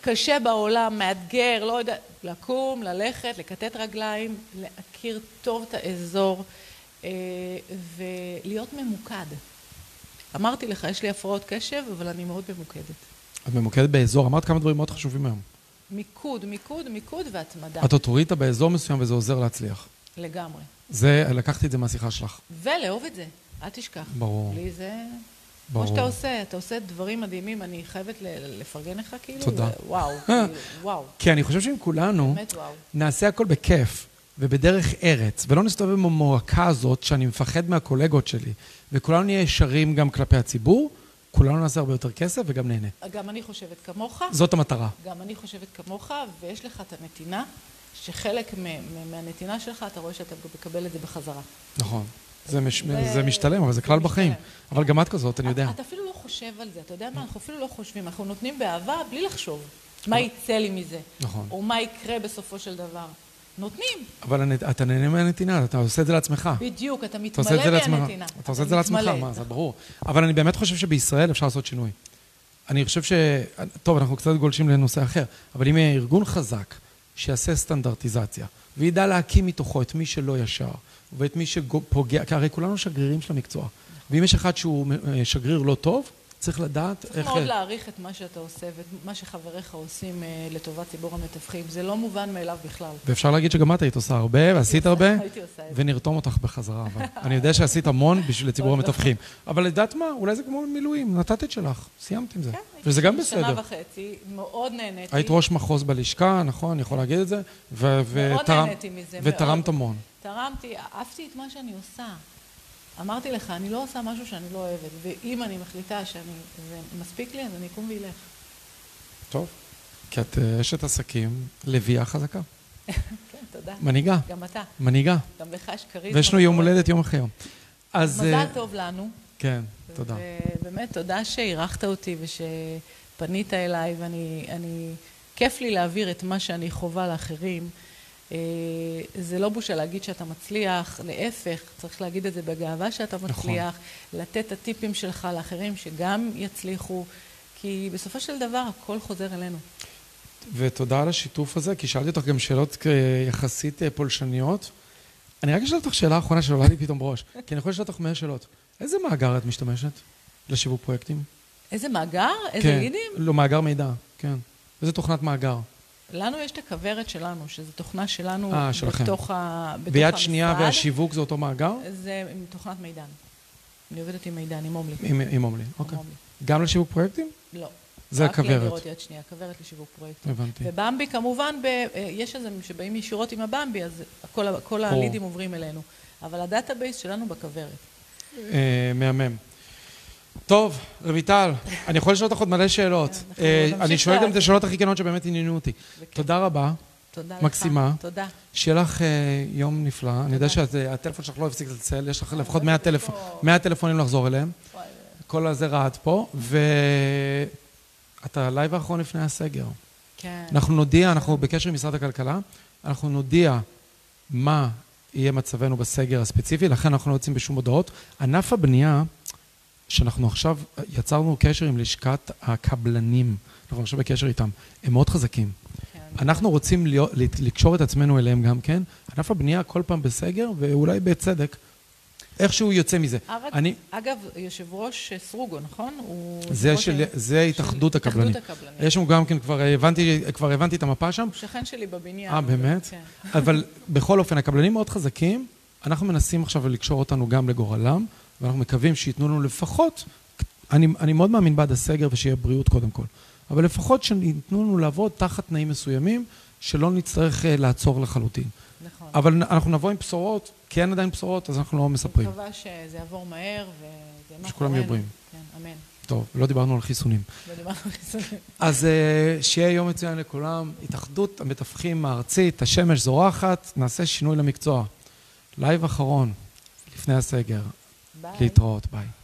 קשה בעולם, מאתגר, לא יודעת, לקום, ללכת, לכתת רגליים, להכיר טוב את האזור אה, ולהיות ממוקד. אמרתי לך, יש לי הפרעות קשב, אבל אני מאוד ממוקדת. את ממוקדת באזור, אמרת כמה דברים מאוד חשובים היום. מיקוד, מיקוד, מיקוד והתמדה. את אוטוריטה באזור מסוים וזה עוזר להצליח. לגמרי. זה, לקחתי את זה מהשיחה שלך. ולאהוב את זה, אל תשכח. ברור. לי זה... ברור. ברור. כמו שאתה עושה, אתה עושה דברים מדהימים, אני חייבת ל- לפרגן לך כאילו. תודה. אה. וואו, כאילו, וואו, כי אני חושב שאם כולנו באמת וואו. נעשה הכל בכיף ובדרך ארץ, ולא נסתובב עם המועקה הזאת שאני מפחד מהקולגות שלי, וכולנו נהיה ישרים גם כלפי הציבור, כולנו נעשה הרבה יותר כסף וגם נהנה. גם אני חושבת כמוך, זאת המטרה. גם אני חושבת כמוך, ויש לך את הנתינה, שחלק מ- מ- מהנתינה שלך, אתה רואה שאתה מקבל את זה בחזרה. נכון. זה, מש... ו- זה משתלם, אבל זה כלל זה בחיים. משתלם. אבל גם את כזאת, אני יודע. אתה אפילו לא חושב על זה, אתה יודע מה? אנחנו אפילו לא חושבים, אנחנו נותנים באהבה בלי לחשוב. מה יצא לי מזה? נכון. או מה יקרה בסופו של דבר. נותנים. אבל הנ- אתה נהנה מהנתינה, אתה עושה את זה לעצמך. בדיוק, אתה אתה עושה את זה מתמלא לעצמך. מהנתינה. אתה עושה את זה לעצמך, מתמלא. מה, זה ברור. אבל אני באמת חושב שבישראל אפשר לעשות שינוי. אני חושב ש... טוב, אנחנו קצת גולשים לנושא אחר, אבל אם יהיה ארגון חזק שיעשה סטנדרטיזציה, וידע להקים מתוכו את מי שלא ישר, ואת מי שפוגע, כי הרי כולנו שגרירים של המקצוע. ואם יש אחד שהוא אה, שגריר לא טוב, צריך לדעת צריך איך... מאוד להעריך את מה שאתה עושה ואת מה שחבריך עושים אה, לטובת ציבור המתווכים. זה לא מובן מאליו בכלל. ואפשר להגיד שגם את היית עושה הרבה, ועשית עושה- הרבה, הייתי עושה את זה. ונרתום אותך בחזרה, אבל. אני יודע שעשית המון בשביל לציבור עוד לא. המתווכים. אבל לדעת מה, אולי זה כמו מילואים, נתת את שלך, סיימת עם זה. כן, הייתי וזה גם שנה בסדר. וחצי, מאוד נהניתי. היית ראש מחוז בלשכה, נכון, אני יכול להגיד את זה, ו- ותרם- נהניתי מזה, ותרמת מאוד. המון. תרמתי, אהבתי את מה שאני עושה. אמרתי לך, אני לא עושה משהו שאני לא אוהבת, ואם אני מחליטה שאני, זה מספיק לי, אז אני אקום ואילך. טוב. כי את אה, אשת עסקים, לביאה חזקה. כן, תודה. מנהיגה, גם אתה, מנהיגה. גם לך יש כריזמה. ויש לנו יום הולדת יום אחרי יום. אז... אה, מזל טוב לנו. כן, תודה. ובאמת, תודה שאירחת אותי ושפנית אליי, ואני, אני, כיף לי להעביר את מה שאני חווה לאחרים. אה, זה לא בושה להגיד שאתה מצליח, להפך, צריך להגיד את זה בגאווה שאתה נכון. מצליח, לתת את הטיפים שלך לאחרים שגם יצליחו, כי בסופו של דבר הכל חוזר אלינו. ותודה על השיתוף הזה, כי שאלתי אותך גם שאלות אה, יחסית אה, פולשניות. אני רק אשאל אותך שאלה אחרונה שעולה לי פתאום *laughs* בראש, כי אני יכול לשאול אותך 100 שאלות. איזה מאגר את משתמשת לשיווק פרויקטים? איזה מאגר? איזה כן. לידים? לא, מאגר מידע, כן. איזה תוכנת מאגר? לנו יש את הכוורת שלנו, שזו תוכנה שלנו אה, שלכם. בתוך, ה, בתוך ביד שנייה המשרד. אה. והשיווק זה אותו מאגר? זה עם תוכנת מידן. אני עובדת עם מידן, עם עומלי. עם עם עומלי, אוקיי. עומלי. גם לשיווק פרויקטים? לא. זה רק הכוורת. לדירות יד שנייה, כוורת לשיווק פרויקטים. הבנתי. ובמבי כמובן, ב, אה, יש איזה שבאים ישירות עם הבמבי, אז כל, ה- כל ברור. הלידים עוברים אלינו. אבל הדאטאבייס שלנו בכוורת. אה, מהמם. טוב, רויטל, אני יכול לשאול אותך עוד מלא שאלות. כן, אנחנו אה, נמשיך אני שואל גם את לעשות. השאלות הכי כנות שבאמת עניינו אותי. בכיף. תודה רבה. תודה לך. מקסימה. תודה. שיהיה לך אה, יום נפלא. אני יודע שהטלפון שלך לא הפסיק לצלצל, יש לך אה, לפחות 100 טלפון- 100 טלפונים לחזור אליהם. לא וואי, וואי. כל הזה רעד פה, ואתה הלייב האחרון לפני הסגר. כן. אנחנו נודיע, אנחנו בקשר עם משרד הכלכלה, אנחנו נודיע מה יהיה מצבנו בסגר הספציפי, לכן אנחנו לא יוצאים בשום הודעות. ענף הבנייה, שאנחנו עכשיו אה, יצרנו קשר עם לשכת הקבלנים, אנחנו עכשיו בקשר איתם, הם מאוד חזקים. כן. אנחנו רוצים להיות, לת- לקשור את עצמנו אליהם גם כן. ענף הבנייה כל פעם בסגר, ואולי בצדק, איכשהו יוצא מזה. ארץ, אני, אה, אגב, יושב ראש אה, סרוגו, נכון? הוא זה, יושב-ראש של, ה- זה התאחדות של הקבלנים. התאחדות הקבלנים. יש לנו גם כן, כבר הבנתי, כבר הבנתי את המפה שם. הוא שכן שלי בבניין. אה, באמת? כן. אבל בכל אופן, הקבלנים מאוד חזקים, אנחנו מנסים עכשיו לקשור אותנו גם לגורלם, ואנחנו מקווים שייתנו לנו לפחות, אני, אני מאוד מאמין בעד הסגר ושיהיה בריאות קודם כל, אבל לפחות שייתנו לנו לעבוד תחת תנאים מסוימים, שלא נצטרך אה, לעצור לחלוטין. נכון. אבל נ- אנחנו נבוא עם בשורות, כי אין עדיין בשורות, אז אנחנו לא אני מספרים. מקווה שזה יעבור מהר וזה מאחורינו. שכולם יהיו בריאים. כן, אמן. טוב, לא דיברנו על חיסונים. לא דיברנו על חיסונים. אז אה, שיהיה יום מצוין לכולם. התאחדות המתווכים הארצית, השמש זורחת, נעשה שינוי למקצוע. לייב אחרון, לפני הסגר. ביי. להתראות, ביי.